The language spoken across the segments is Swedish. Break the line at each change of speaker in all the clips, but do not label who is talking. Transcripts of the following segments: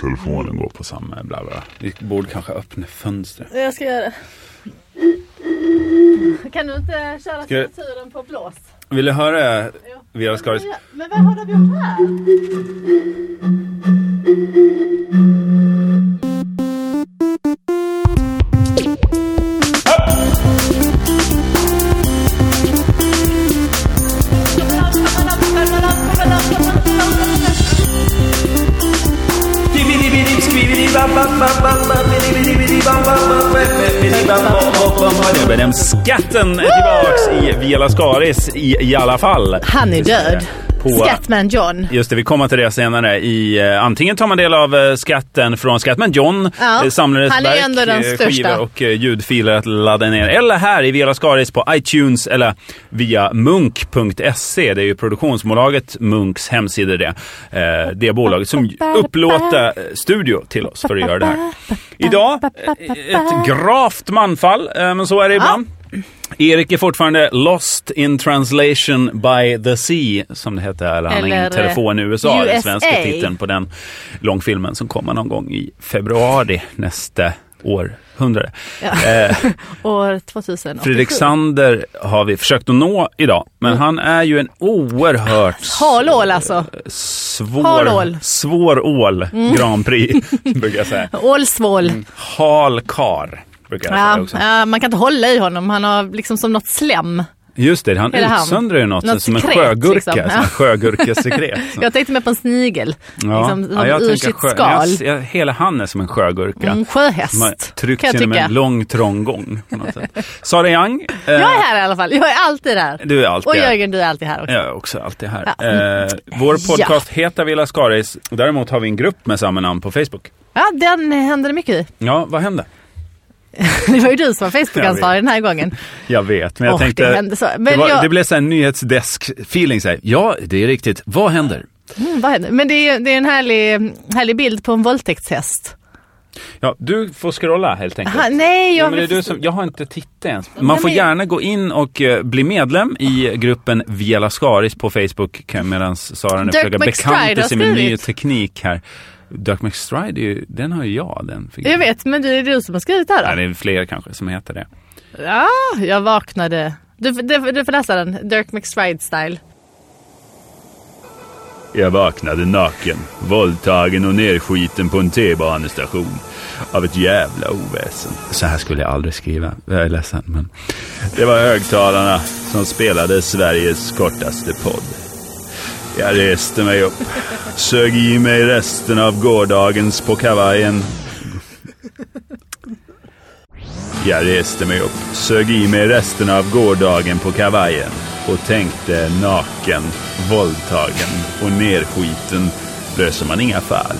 telefonen går på samma bla bla. Vi borde kanske öppna fönstret.
Jag ska göra det. Kan du inte köra
Ska jag-
tastaturen på blås?
Vill du höra Vera Skaris?
Men, men vad har de gjort här?
Skatten är tillbaks i Vela Skaris i, i alla fall.
Han är död.
På-
Scatman John.
Just det, vi kommer till det senare. I, eh, antingen tar man del av eh, skatten från Skatman John,
Ja,
eh, samlades
han är
verk,
ändå den
eh,
största.
skivor och eh, ljudfiler att ladda ner. Eller här i Viola Skaris på iTunes eller via munk.se. Det är ju produktionsbolaget Munks hemsida det. Eh, det bolaget som upplåter eh, studio till oss för att göra det här. Idag, eh, ett gravt manfall, eh, men så är det ibland. Erik är fortfarande lost in translation by the sea, som det hette. Eller han har
Eller, eh,
ingen telefon i USA, den svenska
USA.
titeln på den långfilmen som kommer någon gång i februari nästa århundrade. Eh,
År 2000.
Fredrik Sander har vi försökt att nå idag, men
Mm.
han är ju en oerhört
Halål alltså. Hal ål.
svår, svår ål,
Mm.
Grand Prix, brukar jag säga.
Ålsvål.
Hal kar, brukar jag säga
Ja,
också.
ja, man kan inte hålla i honom. Han har liksom som något slem.
Just det, han
Eller han.
utsöndrar ju något,
Något
som
sekret,
en sjögurka,
liksom.
som
Ja.
en sjögurkesekret. Så.
Jag tänkte mer på en snigel. Liksom, som
jag
ur
tänker
sitt
sjö-
skal.
Jag, jag, hela han är som en sjögurka.
Mm,
Som har
sjöhäst.
tryckt
kan jag
genom
tycka.
en lång trång gång. På något sätt. Sara Young. eh,
Jag är här i alla fall. Jag är alltid här.
Du är alltid
Och
här.
Jörgen, du är alltid här också.
Jag är också alltid här.
Ja.
Eh, vår podcast heter Villa Skaris. Däremot har vi en grupp med samma namn på Facebook.
Ja, den hände det mycket i.
Ja, vad hände?
Det var ju du som var
Jag
Facebook-ansvarig den här gången.
Jag vet, men jag
Åh,
tänkte...
det hände så. Men
det, var,
jag-
det blev så här nyhetsdesk-feeling. så här. Ja, det är riktigt. Vad händer?
Mm, vad hände? Men det är, det är en härlig, härlig bild på en våldtäktshäst.
Ja, du får scrolla helt enkelt.
Aha, nej,
Ja,
jag...
men det är du som, jag har inte tittat ens. Man får
men-
gärna gå in och eh, bli medlem i gruppen Viela Skaris på Facebook medan Sara nu
Dirk
försöker
McStride
bekanta
har
sig med ny
skrivit.
teknik här. Dirk McStride, är ju, den har ju jag den figuren.
Jag vet, men det är du som har skrivit det här då.
Nej, det är fler kanske som heter det.
Ja, jag vaknade. Du, du, du får läsa den. Dirk McStride style.
Jag vaknade naken, våldtagen och nerskiten på en T-banestation av ett jävla oväsen. Så här skulle jag aldrig skriva, jag är ledsen. Men... Det var högtalarna som spelade Sveriges kortaste podd. Jag reste mig upp, sög i mig resten av gårdagens på kavajen. Jag reste mig upp, sög i mig resten av gårdagen på kavajen och tänkte naken, våldtagen och nerskiten löser man inga fall.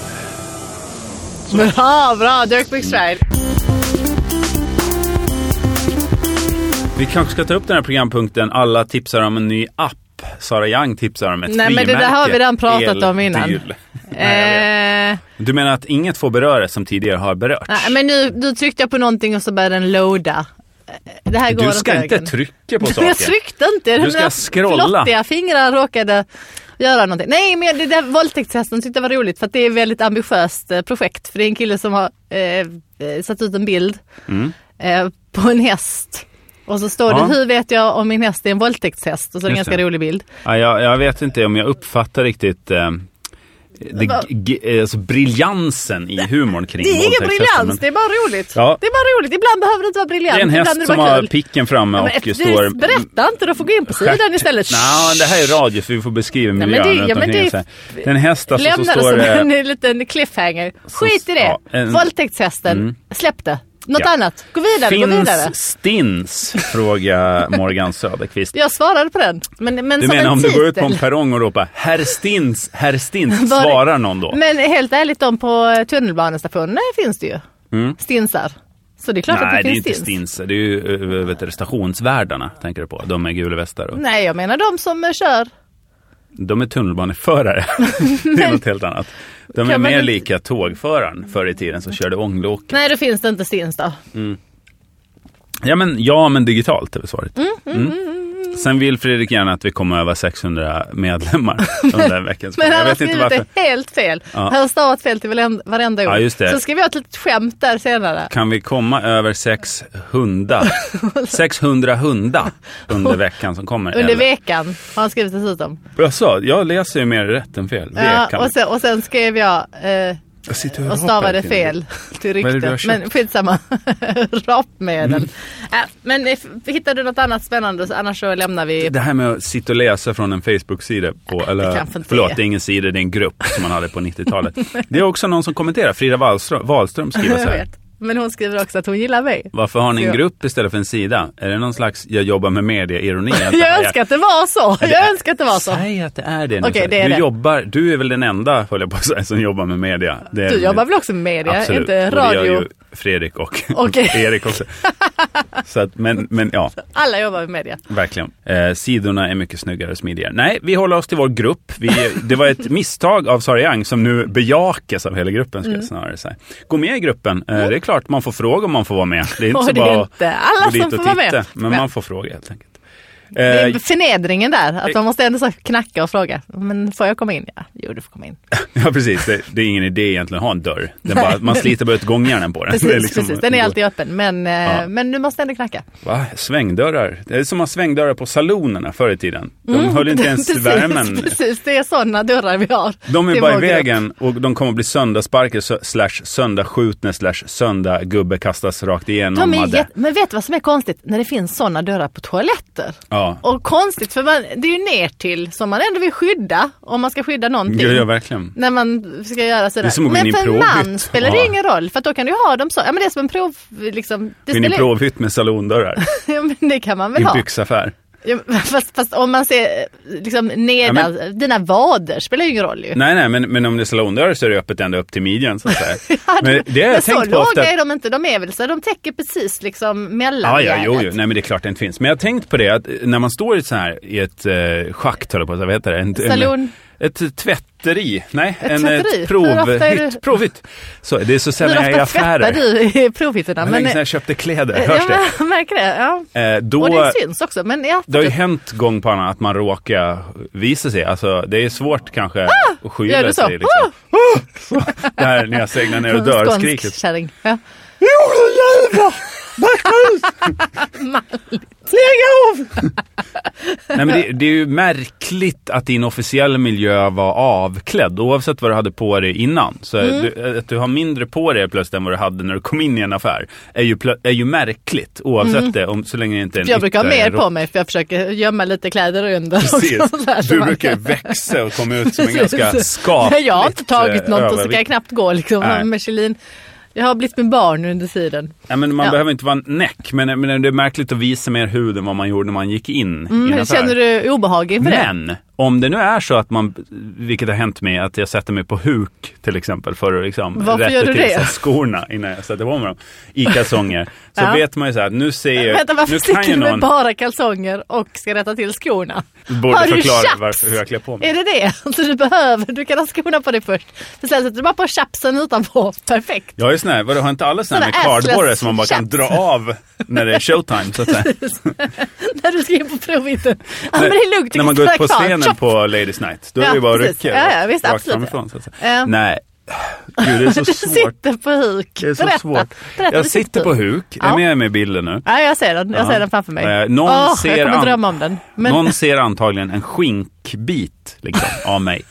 Bra, bra. Dirk McStride.
Vi kanske ska ta upp den här programpunkten. Alla tipsar om en ny app. Sara Young tipsar om ett
Nej, men det där
frimärke.
har vi redan pratat om
Eldyl.
innan.
Nej,
Eh,
jag vet. Du menar att inget får beröras som tidigare har berörts?
nej, men nu, nu tryckte jag på någonting och så började den loada. Eh, Det här går
du ska
åt
inte
högen.
trycka på
Jag
saker.
tryckte inte.
Du ska
Mina
scrolla.
Flottiga fingrar råkade göra någonting. Nej, men det där våldtäktshästen tyckte jag var roligt för att det är ett väldigt ambitiöst eh, projekt. För det är en kille som har eh, eh, satt ut en bild eh, på en häst. Och så står
Mm. Ja.
det, hur vet jag om min häst är en våldtäktshäst? Och så är det en
Just
ganska
det.
rolig bild.
Ja, jag, jag vet inte om jag uppfattar riktigt eh, det,
Va?
g- eh, alltså, briljansen i humorn kring
Det är ingen
våldtäktshästen,
briljans,
men
det är bara roligt.
Ja.
Det är bara roligt, ibland behöver det inte vara briljant.
det är en
ibland
häst
det
som
bara
har
kul.
picken framme
Ja, men,
och
det-
står...
Berätta inte, då får gå in på sidan istället.
Nej, alltså, det här är radio så vi får beskriva
men
miljön
det- ja,
runt
men
omkring
det-
oss här. det är en häst alltså, som
Lämna det
står...
som
eh,
en liten cliffhanger. Skit i det.
ja, en- Mm.
Våldtäktshästen. Släpp det. Något
Ja.
annat. Gå vidare, gå vidare.
Finns stins? Frågar Morgan Söderqvist.
Jag svarade på den. Men, men
Du
som
menar
en
om du
titel.
går ut på en perrong och ropar herr stins, herr stins,
Var-
svarar någon då?
Men helt ärligt, de på eh, tunnelbanestationerna finns det ju. Stinsar. Så det är klart
Mm. Nej,
att
det
det
är
finns
inte
stins.
stins. Det är ju eh, vet du, stationsvärdarna, tänker du på. De med gula västar. Och...
Nej, jag menar de som eh, kör.
De är tunnelbaneförare. det är något helt annat. De är
Kan man
mer
inte-
lika tågföraren förr i tiden som körde ånglok.
Nej, då finns det inte stins då.
Ja men, ja, men digitalt är väl svaret. Mm. Sen vill Fredrik gärna att vi kommer över 600 medlemmar under veckan.
Men
jag
han har
vet inte
skrivit
varför.
det helt fel.
Ja.
Han har stavat fel till varen- varenda ord.
Ja, just det.
Så skrev jag ett litet skämt där senare.
Kan vi komma över 600, 600 hundar under veckan som kommer?
Under
Eller-
vekan har han skrivit dessutom.
Jag sa, jag läser ju mer rätt än fel.
Ja,
Vekan.
och, sen, och sen skrev jag eh,
jag sitter och
och
rapar
stavade
hela tiden.
fel till
Vad är det du har
ryktet.
köpt? Mm.
Men skitsamma. Rapmedel. Äh, men if, hittar du något annat spännande så annars så lämnar vi.
Det här med att sitta och läsa från en Facebook-sida på, eller
kanske inte
förlåt,
är.
det är ingen sida, det är en grupp som man hade på 90-talet. Det är också någon som kommenterar, Frida Wahlström, Wahlström skriver så
Jag
här.
vet. Men hon skriver också att hon gillar mig.
Varför har ni en
Så-
grupp istället för en sida? Är det någon slags jag jobbar med media-ironi? Att det
Jag
här-
önskar att det var så. Jag önskar att det var så.
Säg att det är det nu.
Okej,
så.
det är
du
det.
jobbar, du är väl den enda, höll jag på att säga, som jobbar med media. Det är-
Du jobbar väl också med media?
Absolut.
Inte
Och det gör ju
radio?
Fredrik och,
Okej.
och Erik också. Så att, men, men ja,
Alla jobbar med media.
verkligen. Eh, sidorna är mycket snyggare och smidigare. Nej, vi håller oss till vår grupp. Vi, det var ett misstag av Sara Young som nu bejakas av hela gruppen, ska jag
Mm.
snarare säga. Gå med i gruppen. Eh, det är klart man får fråga om man får vara med. Det är inte
Och
så
det är
bara
inte alla
att gå
som
dit och
får vara med.
titta. Men
Men-
man får fråga helt enkelt.
Det
Eh,
är förnedringen där, att man måste ändå så knacka och fråga. Men får jag komma in? Ja, jo du får komma in.
Ja precis, det, det är ingen idé egentligen att ha en dörr. Den bara, man sliter bara ut gångjärnen på den.
Precis,
Det är liksom-
precis. den är alltid öppen. Men, eh, men du måste ändå knacka.
Va? Svängdörrar? Det är som att ha svängdörrar på salonerna förr i tiden. De höll inte ens
Mm, precis,
värmen.
Precis, det är sådana dörrar vi har.
De är
till
bara i
vår grupp.
vägen och de kommer att bli söndagsparker så- slash söndagsskjutna slash söndagubbe kastas rakt igenom.
De är
hade.
jätte- men vet du vad som är konstigt? När det finns sådana dörrar på toaletter.
Ja,
Och konstigt, för man, det är ju ner till som man ändå vill skydda, om man ska skydda någonting.
gör jag verkligen.
när man ska göra sådär.
Det är som att gå
men
in i
för en
provhytt.
man spelar det
Ja.
ingen roll, för att då kan du ha dem så. Ja, men det är som en prov... Liksom, det,
Vill ni
spelar-
provhytt med salondörrar?
ja, men det kan man
I
väl
en
ha.
byxaffär?
Ja, men Fast, fast om man ser eh, liksom nedan,
Ja,
dina vader spelar ju ingen roll ju.
Nej, nej, men, men om det är salondörrar så är det öppet ända upp till midjan så att säga.
Ja,
Men det har jag
men så
tänkt på ofta.
låga är de inte, de är väl så, de täcker precis liksom mellan
Ja, ja, jo, jo.
järnet.
Nej, men det är klart det inte finns. Men jag har tänkt på det att eh, när man står i, ett så här, i ett eh, schakt, höll jag på att säga, vad heter det? En,
Salon.
En, ett tvätteri. Nej,
Ett
en
tvätteri?
Ett
Hur ofta är
provhytt.
du-
provhytt. Så, det är så sällan
Hur
jag är i
ofta tvättar
affärer.
du i provhytterna?
Hur
Men,
länge sedan
eh,
jag köpte kläder, hörs
ja, men
det?
jag märker det. Ja.
Eh, då,
Och det syns också. Men ja,
det har ju hänt gång på annan att man råkar visa sig. Alltså, det är svårt kanske att
gör
skyla
du Ah! så? Ah!
sig. Liksom. Så, det här när jag segnar ner och dör, skriket.
skånsk kärring. Ja.
Jordejävlar! Backa ut! Lägg av! Nej, men det, det är ju märkligt att din officiella miljö var avklädd oavsett vad du hade på dig innan. Så
Mm.
du, att du har mindre på dig plötsligt än vad du hade när du kom in i en affär är ju, plö- är ju märkligt oavsett det, om, så länge det inte är en
Mm. Jag brukar ha
yttre
mer
rock.
på mig för jag försöker gömma lite kläder under. och sånt där
Precis.
som
Du
man-
brukar ju växa och komma ut som en
Precis.
ganska
Nej,
skapligt
jag har inte tagit
eh,
något och så
övervikt.
kan jag knappt gå liksom.
Nej.
Michelin. Jag har blivit med barn under tiden.
Ja, men man
Ja.
behöver inte vara näck, men, men det är märkligt att visa mer hud än vad man gjorde när man gick in i en
Mm,
affär.
känner du obehag inför det?
Men om det nu är så att man, vilket har hänt mig, att jag sätter mig på huk till exempel för att liksom
Varför
rätta
gör du
till
det?
så här skorna innan jag sätter på mig dem i kalsonger. Så
Ja.
vet man ju så här, nu ser jag,
Vänta,
Eh, nu
varför
kan
sticker
ju
du med
någon,
bara kalsonger och ska rätta till skorna?
borde
Har du
förklara
chaps?
varför, hur jag klär på mig.
Är det det? Så du behöver, du kan ha skorna på dig först. Men sen sätter du bara på chapsen utanpå. Perfekt.
Jag är sån här, vadå, har inte alla såna här med
Såna assless
kardborre som man bara kan dra
chaps.
av när det är showtime så att säga.
När du ska in på provhytten. Ja, men det är lugnt. du
när
kan
man går
stanna
ut på
kvar.
scenen
Tjoff!
på Ladies Night, då är
Ja,
det ju bara att
precis.
rycka
Ja, ja, visst,
rakt
absolut.
framifrån. Så att säga.
Ja.
Nej, gud det är så
Du
svårt.
sitter på huk.
Det är så
Berätta.
svårt.
Berätta,
jag
du
sitter på huk, jag är
Ja.
med mig i bilden nu.
Ja, jag ser den. Jag
Ja.
ser den framför mig.
Eh, någon
Åh,
ser
jag kommer
an-
drömma om den. Men
Någon ser antagligen en skinkbit liksom, av mig.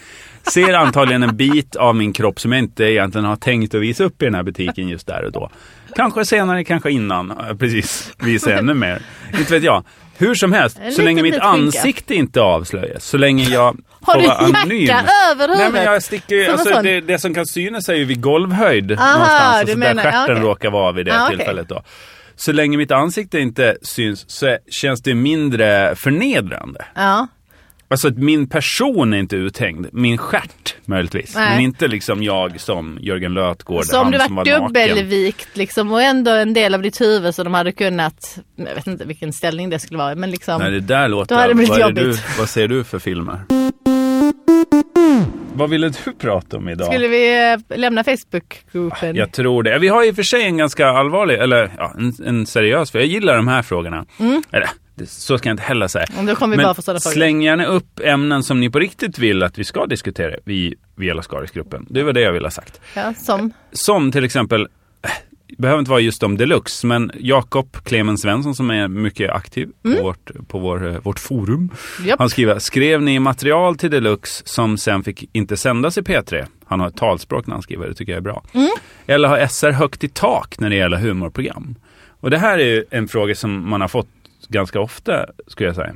Ser antagligen en bit av min kropp som jag inte egentligen har tänkt att visa upp i den här butiken just där och då. Kanske senare, kanske innan. eh, Precis, visa ännu mer. Inte vet jag. Hur som helst,
En
så länge
liten
mitt
bit skinka.
ansikte inte avslöjas, så länge jag
har
får
du
vara
jacka
anonym.
över huvudet?
Nej men jag sticker ju,
Som en
alltså,
sån.
det, det som kan synas är ju vid golvhöjd
Aha,
någonstans. Och
du
så
menar-
där
ja,
stjärten
okej.
råkar vara vid det
Ja, Ah, okej.
tillfället då. Så länge mitt ansikte inte syns så är- känns det mindre förnedrande.
Ja.
Alltså att min person är inte uthängd, min stjärt möjligtvis.
Nej.
Men inte liksom jag som Jörgen Lötgård,
Så om
han
du
som
varit
var naken.
dubbelvikt liksom och ändå en del av ditt huvud så de hade kunnat, jag vet inte vilken ställning det skulle vara men liksom.
Nej det där låter,
Då hade det blivit
vad, är du,
jobbigt.
vad ser du för filmer? Vad ville du prata om idag?
Skulle vi eh, lämna Facebookgruppen?
Jag tror det. Vi har i och för sig en ganska allvarlig, eller ja, en, en seriös, för jag gillar de här frågorna. Eller, Det- Så ska jag inte heller säga.
Om Mm. Då kommer vi
Men
bara få sådana frågor.
släng gärna upp ämnen som ni på riktigt vill att vi ska diskutera i Viola Skaris-gruppen. Det var det jag ville ha sagt.
Ja, som.
Som till exempel, eh, behöver inte vara just om deluxe, men Jakob Clemens Svensson som är mycket aktiv
Mm.
på, vårt, på vår, eh, vårt forum.
Japp.
Han skriver, skrev ni material till deluxe som sen fick inte sändas i P3? Han har ett talspråk när han skriver, det tycker jag är bra.
Mm.
Eller har SR högt i tak när det gäller humorprogram? Och det här är ju en fråga som man har fått ganska ofta, skulle jag säga.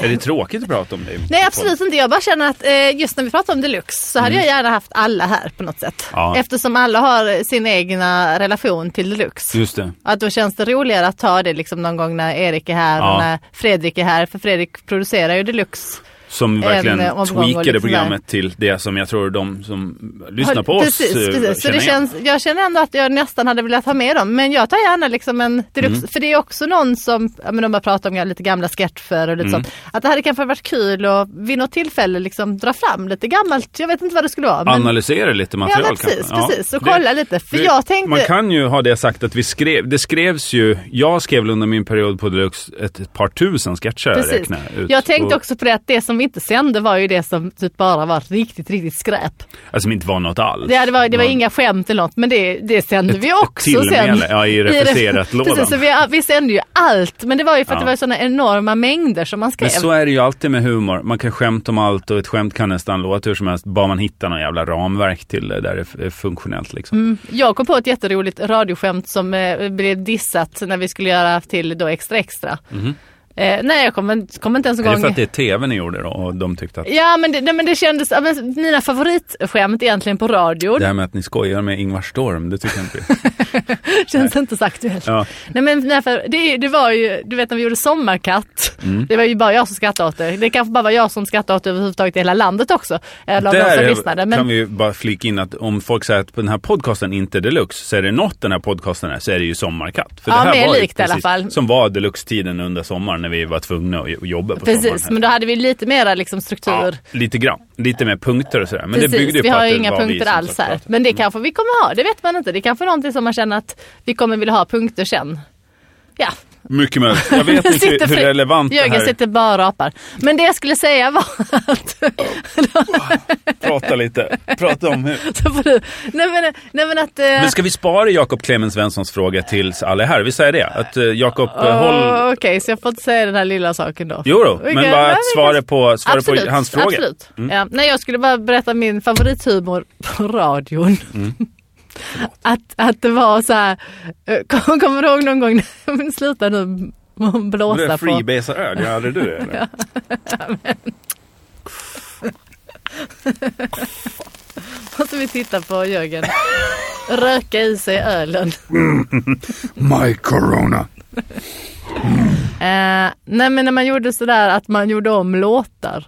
Är det tråkigt att prata om det? i
Nej
podd?
absolut inte, jag bara känner att eh, just när vi pratar om deluxe så hade jag gärna haft alla här på något sätt.
Mm. Ja.
Eftersom alla har sin egna relation till deluxe.
Just det.
Att då känns det roligare att ta det liksom någon gång när Erik är här
Ja.
och när Fredrik är här. För Fredrik producerar ju deluxe.
Som verkligen
eh, omgång och
tweakade
liksom
programmet till det som jag tror de som lyssnar på
Har-
oss
precis,
eh,
precis. Så
känner
det
igen.
känns, Jag känner ändå att jag nästan hade velat ha med dem. Men jag tar gärna liksom en deluxe.
Mm.
För det är också någon som, ja, men de har pratat om lite gamla sketcher och lite
Mm.
sånt. Att det hade kanske varit kul att vid något tillfälle liksom dra fram lite gammalt. Jag vet inte vad det skulle vara. Men,
Analysera lite
ja,
material
men precis,
kanske. Ja,
precis. Och
det-
kolla lite. För
det-
jag tänkte,
Man kan ju ha det sagt att vi skrev, det skrevs ju, jag skrev väl under min period på Deluxe ett, ett par tusen sketcher
precis.
räknar jag ut.
jag tänkte
Och-
också på det att det som vi inte sände var ju det som typ bara var riktigt, riktigt skräp.
Alltså som inte var något alls.
Det, hade varit, det var inga skämt eller något men det, det sände vi också sen.
tillmäle, ja, i refuserat-lådan.
Precis, så vi, vi sände ju allt men det var ju för att
Ja.
det var sådana enorma mängder som man skrev.
Men så är det ju alltid med humor. Man kan skämta om allt och ett skämt kan nästan låta hur som helst. Bara man hittar någon jävla ramverk till det där det är- är funktionellt liksom.
Mm. Jag kom på ett jätteroligt radioskämt som eh, blev dissat när vi skulle göra till då Extra Extra. Eh, nej jag kommer kom inte ens en
Mhm. Är det för
gång...
att det är tv ni gjorde då och de tyckte att
Ja men det, nej, men det kändes, ja, men mina favoritskämt egentligen på radio
det här med att ni skojar med Ingvar Storm, det tycker jag inte.
känns inte så aktuellt.
Ja.
Nej men nej, för det, är- det var ju, du vet när vi gjorde Sommarkatt,
Mm.
det var ju bara jag som skrattade åt det. Det kanske bara var jag som skrattade åt det överhuvudtaget i hela landet också. Eller av de som lyssnade. Men
kan vi ju bara flika in att om folk säger att på den här podcasten inte är deluxe så är det något den här podcasten är så är det ju Sommarkatt. För
Ja,
det här
mer
var ju
likt i alla fall.
Som var deluxe-tiden under sommaren när vi var tvungna att jo- jobba på sommaren.
precis, men då hade vi lite mera liksom
Ja,
struktur.
lite grann, lite mer punkter och sådär. Men det
Precis,
byggde ju
vi
på
har
att
ju
det
inga
var vi
punkter
som
alls
satt
här.
och pratade.
Men det kanske vi kommer ha, det vet man inte. Det kanske är någonting som man känner att vi kommer vilja ha punkter sen. Ja,
Mycket möjligt. Jag vet inte
Sitter
hur, hur
fri-
relevant det
Jörgen
här
sitter bara och apar. Men det jag skulle säga var att
Prata lite. Prata om hur.
Så får du- nej, men, nej men att... eh,
Men ska vi spara Jakob Clemens Svenssons fråga tills alla är här? Vi säger det. Att eh, Jakob, eh, håll...
Åh, Okej, så jag får inte säga den här lilla saken då?
Jo då,
Okej,
men
nej,
bara
men
att svara på, svara
absolut,
på hans Mm. fråga.
Absolut. Ja, nej, jag skulle bara berätta min favorithumor på radion.
Mm.
att, att det var så här, eh, kom- kommer du ihåg någon gång, men sluta nu blåsa på.
freebasear gör aldrig du eller?
Måste Alltså, vi titta på Jörgen. Röka i sig ölen.
My corona.
Eh, nej men när man gjorde sådär att man gjorde om låtar.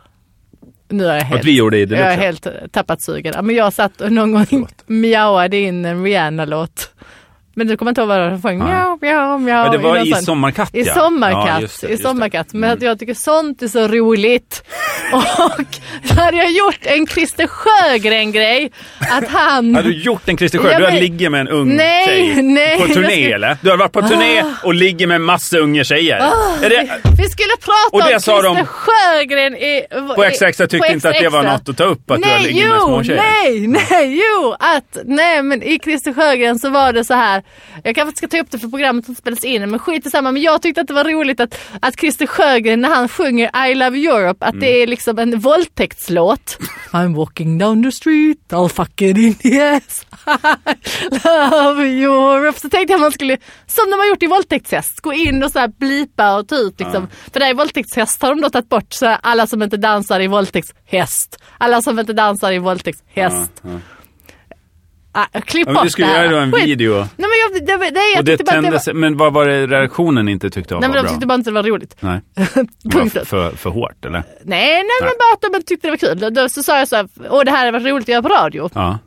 Nu är jag helt
Att vi gjorde i det
Jag har
också.
helt tappat sugen. Ja, Men jag satt och någon gång
Förlåt.
mjauade in en Rihanna-låt. Men du kommer inte ihåg vad den sjöng?
Nej.
Mjau, mjau, mjau.
Ja, det var
någon
i
sån.
Sommarkatt
I
ja.
sommarkatt,
Ja, just det,
i
just det. Mm.
sommarkatt. Men att jag tycker sånt är så roligt. Och så hade jag gjort en Christer Sjögren-grej. Att han...
Hade du gjort en Christer Sjö?
Ja,
du hade
men-
ligger med en ung
Nej,
tjej
nej,
på turné
jag Ah. skulle-
eller? Du har varit på turné och ligger med en massa unga tjejer.
Ah.
är det...
Vi skulle prata
Och det
om
sa
Christer
de-
Sjögren i...
På extra extra tyckte inte att det var något att ta upp att du
nej,
ligger med
jo,
små tjejer.
nej, nej, jo, att, nej, men i Christer Sjögren så var det så här. Jag kanske inte ska ta upp det för programmet som spelas in, men skit i samma. Men jag tyckte att det var roligt att, att Christer Sjögren när han sjunger I Love Europe, att det är liksom en våldtäktslåt. I'm walking down the street, I'll fuck it in the ass. I love Europe. Så tänkte jag att man skulle, som de har gjort i våldtäktshäst, gå in och så här blipa och ta ut liksom. För där i våldtäktshäst har de då tagit bort så här, alla som inte dansar i våldtäktshäst. Alla som inte dansar i våldtäktshäst.
Ja, ja.
Ah, klipp
Ja,
bort
men du skulle
det här.
göra då en
Skit.
video.
Nej men jag, det, var- nej, jag
Och det
tyckte bara att det var,
tändes, men vad var det reaktionen inte tyckte var
nej, men de
bra?
tyckte bara inte det var roligt.
Nej,
Punkt.
Var för, för hårt eller?
Nej, nej,
Nej.
men bara att de inte tyckte det var kul. Då, då, så sa jag så här, åh det här har varit roligt att göra på radio.
Ja.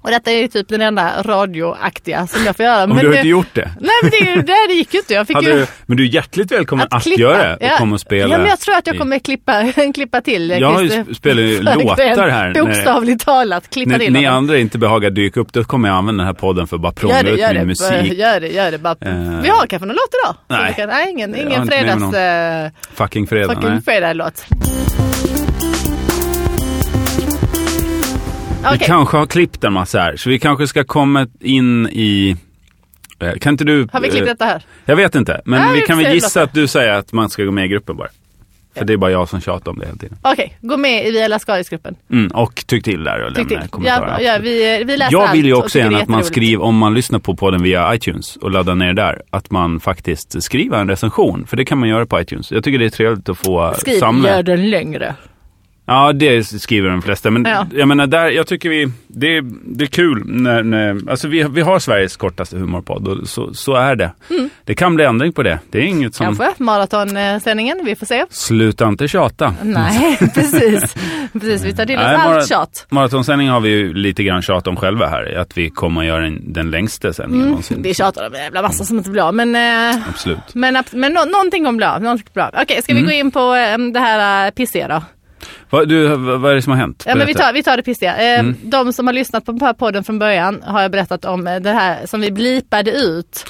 Och detta är ju typ den enda radioaktiga som jag får göra.
Om du
det-
har inte gjort det?
Nej men det, är ju- det, det gick ju inte. Jag fick
Hade
ju
du, men du är hjärtligt välkommen att,
klippa.
göra det och
Ja.
komma och spela.
Ja men jag tror att jag
i-
kommer klippa, klippa till eh,
Jag har ju
Christer
sp- spelat ju
Sjögren.
låtar här när-
Bokstavligt talat, klippa
När
till
ni
honom.
andra inte behagar dyka upp, då kommer jag använda den här podden för att bara prångla
Gör det,
ut
gör
min
det,
musik.
bara- gör det, gör det. Bara,
Eh.
Vi har kanske någon låt idag?
Nej.
Som vi kan- nej ingen,
Jag har
ingen
inte med mig någon.
fredags... eh,
Fucking fredag.
Fucking
nej.
fredag-låt. Okej,
Vi kanske har klippt en massa här, så vi kanske ska komma in i... eh, Kan inte du...
har vi
eh,
klippt detta här?
Jag vet inte, men
Nej,
vi
vi
kan
får
väl
se,
gissa
Lotta.
att du säger att man ska gå med i gruppen bara. För det är bara jag som tjatar om det hela tiden.
Okej, gå med i Via Lascaris-gruppen.
Mm, och tyck till där och
Tyck
lämna
till. Ja,
kommentarer.
ja, vi, vi läser
jag vill ju
allt och
också
tycker
gärna
det är
att man
jätteroligt.
skriver, om man lyssnar på podden via iTunes och laddar ner där, att man faktiskt skriver en recension. För det kan man göra på iTunes. Jag tycker det är trevligt att få
Skriv,
samla.
gör den längre.
Ja, det skriver de flesta. Men
Ja.
jag menar, där, jag tycker vi, det, är- det är kul när, när alltså vi, vi har Sveriges kortaste humorpodd och så, så är det.
Mm.
Det kan bli ändring på det. Det är inget som,
Kanske, maratonsändningen, vi får se.
sluta inte tjata.
Nej, precis. precis. Vi tar till oss
Mm. Nej, bara-
allt tjat.
Maratonsändning har vi ju lite grann tjat om själva här, att vi kommer att göra en, den längsta sändningen
Mm.
någonsin.
Vi tjatar om en jävla massa som inte blir av, men, eh,
Absolut.
men, abs- men nå- någonting kommer bli av. någonting kommer bli av. Okej, ska vi gå in på eh, det här eh, pissiga då?
Vad, du, vad vad är det som har hänt?
Ja, men vi,
Berätta.
tar, vi tar det pissiga. Eh, De som har lyssnat på den här podden från början har jag berättat om eh, det här som vi blipade ut.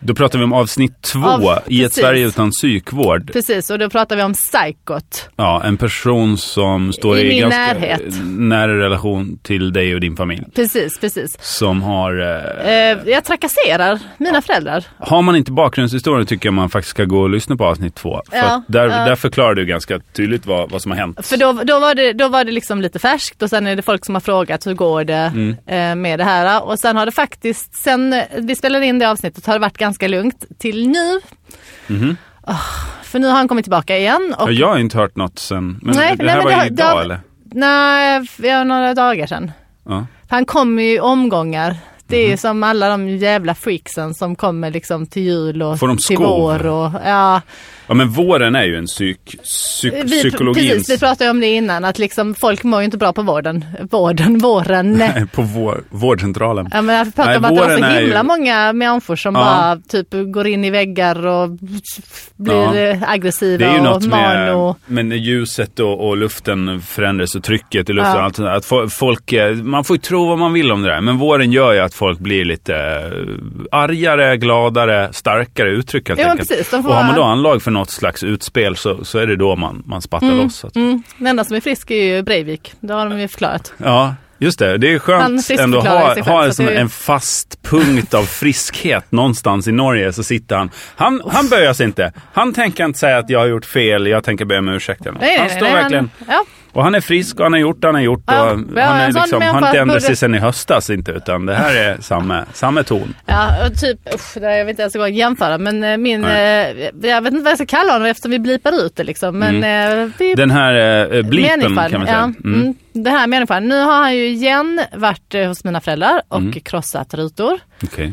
Då pratar vi om avsnitt två
Av-
i ett
precis.
Sverige utan psykvård.
Precis, och då pratar vi om psykot.
Ja, en person som står
I
i
min
ganska
närhet.
nära relation till dig och din familj.
Precis, precis.
Som har... Eh,
Eh, jag trakasserar mina föräldrar.
har man inte bakgrundshistoria tycker jag man faktiskt ska gå och lyssna på avsnitt två. För
Ja,
att där,
ja.
där förklarar du ganska tydligt vad, vad som har hänt.
För då, då, var det, då var det liksom lite färskt och sen är det folk som har frågat hur går det
Mm.
eh, med det här. Och sen har det faktiskt, sen eh, vi spelade in det avsnittet har det varit ganska lugnt till nu. Ah, för nu har han kommit tillbaka igen. Och,
Mhm. Ja, Jag har inte hört något sen... Men
Nej,
det
nej,
här
men
var
det
ju
har- det
idag
har-
eller?
Nej, vi har några dagar sedan.
Ja.
Han kommer ju i omgångar. Det är
Mhm.
ju som alla de jävla freaksen som kommer liksom till jul och
Får de
till
skov?
vår. Och, ja.
ja, men våren är ju en psyk, psyk,
vi,
psykologins...
precis, vi pratade ju om det innan, att liksom, folk mår ju inte bra på vården. Vården, våren. Nej.
på vår, vårdcentralen.
Ja, men jag pratade om
Nej,
att det var
våren
så
är
himla
ju-
många människor som
Ja.
bara typ går in i väggar och blir eh, aggressiva
Det är ju
och
något med,
mano.
men ljuset och, och luften förändras och trycket i luften.
Ja.
Och allt sånt där. Att fo- folk, eh, man får ju tro vad man vill om det där. Men våren gör ju att folk blir lite eh, argare, gladare, starkare uttryck helt
Ja, men
enkelt.
precis, de får
och har man då
vara-
anlag för något slags utspel så, så är det då man, man spattar loss. Så att-
Mm. Den enda som är frisk är ju Breivik, det har de ju förklarat.
Ja, just det. Det är
Han
skönt ändå att
friskförklarar
ha,
sig själv,
ha en,
så
sån,
det är ju-
en fast punkt av friskhet någonstans i Norge. Så sitter han. Han, han böjer sig inte. Han tänker inte säga att jag har gjort fel, jag tänker be om ursäkt. eller något.
Nej,
han
nej,
står
nej,
verkligen...
Han, ja.
Och han är frisk och han har gjort det han har gjort. Och
Ja,
han
ja,
är
en sån
liksom, han har
människa
inte ändrat sig
borde-
sen i höstas inte, utan det här är samma, samma ton.
Ja, och typ, usch, det här, jag vet inte ens en gång jämföra men eh, min, eh, jag vet inte vad jag ska kalla honom eftersom vi blipar ut det liksom. Men eh, vi,
Mm. Den här eh, blipen
människan,
kan man
ja,
säga. Mm.
mm, den här människan. Nu har han ju igen varit eh, hos mina föräldrar och
Mm.
krossat rutor.
Okej.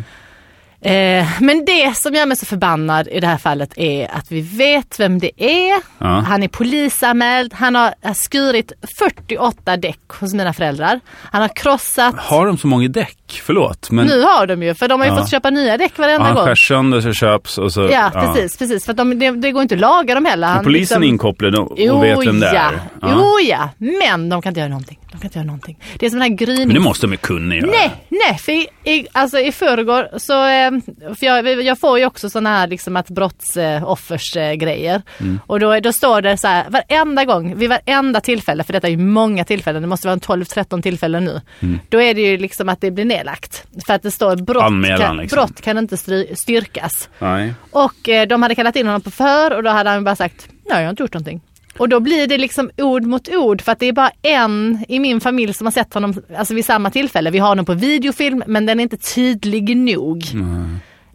Eh, men det som gör mig så förbannad i det här fallet är att vi vet vem det är.
Ja.
Han är polisanmäld, han har har skurit 48 däck hos mina föräldrar. Han har krossat,
Har de så många däck? Förlåt. Men
nu har de ju för de har ju
Ja.
fått köpa nya däck
ja,
varenda
han
gång.
skär sönder så köps och så...
Ja, precis. precis. För att de, det, det går inte att laga dem heller. Han
Polisen är
liksom-
inkopplad och,
Jo,
och vet vem det
ja.
är. Ja.
Jo, ja. Men de kan inte göra någonting. De kan inte göra någonting. Det är som den här
Men det
gryningen.
måste de ju kunna göra.
Nej, nej, för i, i, alltså i förrgår så, eh, för jag, jag får ju också sådana här liksom att brottsoffersgrejer.
Mm.
Och då, då står det så här varenda gång, vid varenda tillfälle, för detta är ju många tillfällen, det måste vara en 12-13 tillfällen nu.
Mm.
Då är det ju liksom att det blir nedlagt. För att det står brott,
Anmälan,
kan,
liksom.
brott kan inte stry- styrkas.
Nej.
Och eh, de hade kallat in honom på förhör och då hade han bara sagt nej jag har inte gjort någonting. Och då blir det liksom ord mot ord för att det är bara en i min familj som har sett honom alltså vid samma tillfälle. Vi har honom på videofilm men den är inte tydlig nog.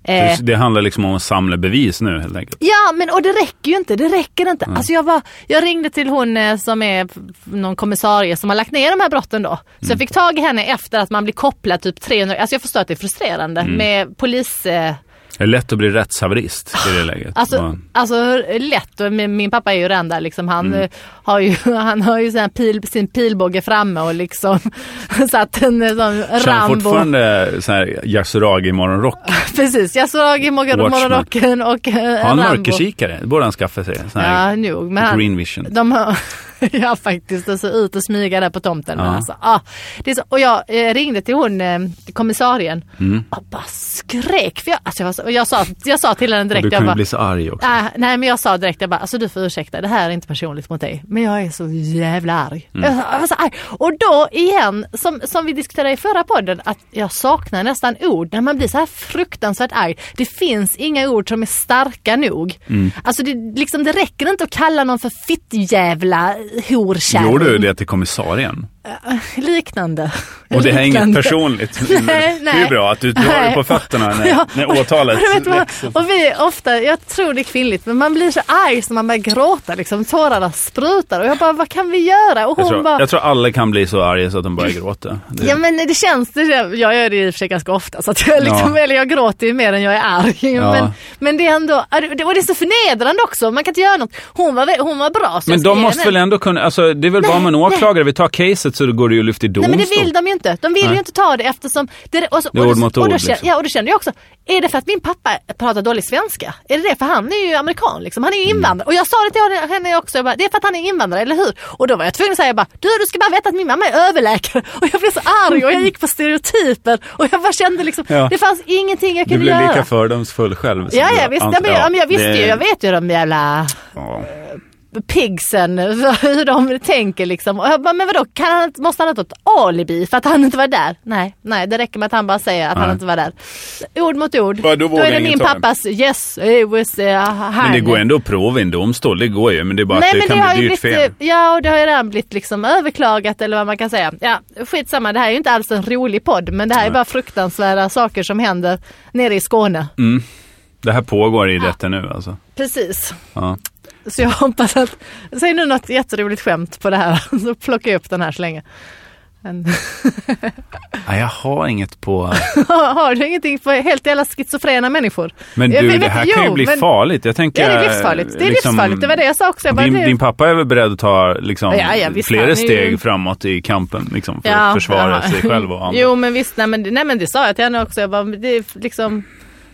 Eh,
Det, det handlar liksom om att samla bevis nu helt enkelt.
Ja men och det räcker ju inte, det räcker inte. Alltså jag, var, jag ringde till hon eh, som är f- någon kommissarie som har lagt ner de här brotten då. Så jag fick tag i henne efter att man blir kopplad typ 300, alltså jag förstår att det är frustrerande med polis eh,
Det är lätt att bli rättshaverist i det läget.
Alltså,
Man-
alltså lätt, och min, min pappa är ju den där liksom, han,
Mm.
eh, har ju, han har ju sån här pil, sin pilbåge framme och liksom satt en eh, sån
Kör han
Rambo.
fortfarande så här Yasuragi morgonrock?
Precis, Yasuragi,
Watchman.
Morgonrocken och eh,
Har han
Rambo.
mörkerkikare? Det borde han skaffa sig. Sån här
Ja, nog. Men han,
green vision.
De har, ja faktiskt, alltså ut och smyga där på tomten. Men
Ja.
alltså, ah, det är så, och jag eh, ringde till hon, eh, kommissarien,
Mm.
och bara skrek. För jag, alltså jag, var så, och jag, sa, jag sa till henne direkt,
Du
jag
kommer
bara,
bli så arg också.
"Ah, nej men jag sa direkt, jag bara, alltså du får ursäkta, det här är inte personligt mot dig, men jag är så jävla arg.
Mm.
Jag, var så- jag var så arg. Och då igen, som, som vi diskuterade i förra podden, att jag saknar nästan ord när man blir så här fruktansvärt arg. Det finns inga ord som är starka nog.
Mm.
Alltså det, liksom, det räcker inte att kalla någon för fittjävla horkärring.
Gjorde du det till kommissarien?
Liknande.
Och det här är inget
Liknande.
personligt.
Nej,
Det är
nej.
ju bra att du drar dig
Nej.
på fötterna när,
Ja,
när åtalet
Och, vet du vad?
väcks.
och vi är ofta, jag tror det är kvinnligt, men man blir så arg så man börjar gråta liksom. Tårarna sprutar och jag bara, vad kan vi göra? Och
Jag
hon
tror,
bara,
jag tror alla kan bli så arga så att de börjar gråta. Det,
ja men det känns, det, jag gör det i och för sig ganska ofta så att jag liksom,
Ja.
eller jag gråter ju mer än jag är arg.
Ja.
Men, men det är ändå, och det är så förnedrande också, man kan inte göra något. Hon var, vä- hon var bra. Så jag
men
skrev
de måste
henne.
väl ändå kunna, alltså, det är väl bara om en åklagare vill ta caset så går det ju att lyfta i
Nej
domstol.
men det vill de ju inte. De vill ju
Nej.
inte ta det eftersom... Det, och så,
Det är
och
ord
då-
mot
och då
ord,
känner-
liksom.
Ja och då känner jag också, är det för att min pappa pratar dålig svenska? Är det det? För han är ju amerikan liksom, han är ju
Mm.
invandrare. Och jag sa det till henne- henne också, jag bara, det är för att han är invandrare, eller hur? Och då var jag tvungen att säga, jag bara, du du ska bara veta att min mamma är överläkare. Och jag blev så arg och jag gick på stereotyper och jag bara kände liksom,
Ja.
det fanns ingenting jag
Du
kunde
blir
göra.
lika fördomsfull själv. som
Ja,
du
ja, visst,
ant-
ja, men, ja, men jag visste
det-
ju, jag vet ju de jävla
ja.
pigsen, hur de tänker liksom. Och jag bara, men vadå, kan han, måste han ha ett alibi för att han inte var där? Nej, nej, det räcker med att han bara säger att han
Nej.
inte var där. Ord mot ord.
Ja, då vågar
är det
ingen
min
ta den.
pappas yes, it was uh,
Men det går ändå att prova i en domstol, det går ju. Men det är bara
Nej,
att det
men
kan
det har
bli
ju
dyrt
blivit,
fel.
eh, ja, och det har ju redan blivit liksom överklagat eller vad man kan säga. Ja, skitsamma, det här är ju inte alls en rolig podd, men det här är bara fruktansvärda saker som händer nere i Skåne.
Mm. Det här pågår i rätten nu alltså.
Precis.
Ja.
Så jag hoppas att, säg nu något jätteroligt skämt på det här, så plockar jag upp den här så länge. Men,
Nej, jag har inget på...
har du ingenting för helt jävla schizofrena människor?
Men
Jag
du,
vet-
det här
jo,
kan ju bli
men-
farligt. Jag
Ja,
tänker,
det är livsfarligt. Det är
liksom,
livsfarligt, det var det jag sa också. Jag bara,
din,
det,
din pappa är väl beredd att ta liksom,
Ja, ja, visst, han är
flera
ju-
steg framåt i kampen liksom, för att försvara
aha.
sig själv och andra.
Jo men visst, nej men, nej, men det sa jag till henne också. Jag bara, men det är liksom,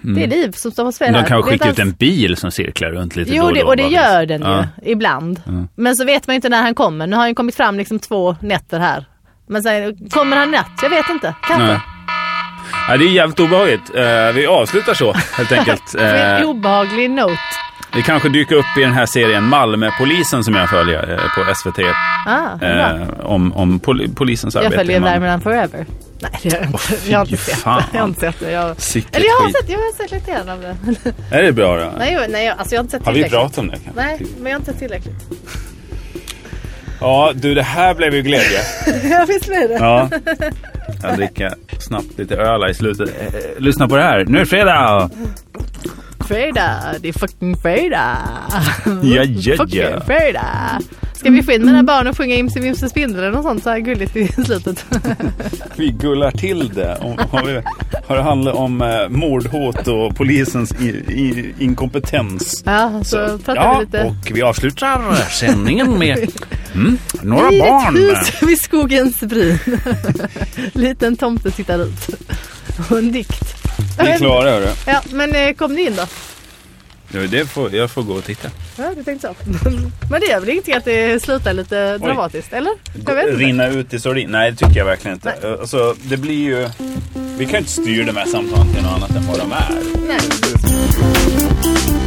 det är liv som står på spel
Men
här.
Mm. de kan
Det är
skicka
inte
ut en bil som cirklar runt lite då
Jo, det,
då,
och det
bara,
gör
visst.
den ju
Ja.
ibland. Men så vet man ju inte när han kommer. Nu har han ju kommit fram liksom två nätter här. Men sen, kommer han i natt? Jag vet inte. Kanske.
Nej. Ja, det är jävligt obehagligt. Eh, vi avslutar så helt enkelt.
På en
Eh,
obehaglig note.
det kanske dyker upp i den här serien Malmöpolisen som jag följer eh, på SVT.
Ah, bra.
Eh, om om pol- polisens
jag
arbete. i
följer
Malmö.
Värmland forever. Nej, det gör jag inte. jag har inte
fy
sett
fan.
det. Jag har inte sett det. Jag...
Sicket
Eller jag har
skit.
sett, jag har sett lite grann av det.
Är det bra då?
nej, jag, nej jag, alltså jag har inte sett
Har vi
tillräckligt.
pratat om det? kanske?
Nej, men jag har inte sett tillräckligt.
Ja, du det här blev ju glädje.
Ja, visst blir det.
Ja. Jag dricker snabbt lite öl här i slutet. Eh, eh, Lyssna på det här. Nu är det fredag!
Fredag, det är fucking fredag.
Ja, ja,
Fucking
ja.
fredag. Ska vi få in mina barn och sjunga Imse Vimse Spindel och sånt så här gulligt i slutet?
Vi gullar till det. Om, har, vi, har det handlat om eh, mordhot och polisens i, i, inkompetens.
Ja, så pratar
ja,
vi lite.
och vi avslutar sändningen med mm, några
I
barn.
ett hus vid skogens bryn. Liten tomte tittar ut. Och en dikt.
Vi är klara, hörru.
Ja, men eh, kom ni in då?
Ja, det får, jag får gå och titta.
Ja, du tänkte så. Men det gör väl ingenting att det slutar lite dramatiskt, eller? Jag vet inte.
Rinna ut i sordin? Nej, det tycker jag verkligen inte. Alltså, det blir ju... Vi kan ju inte styra de här samtalen till något annat än vad de är.
Nej.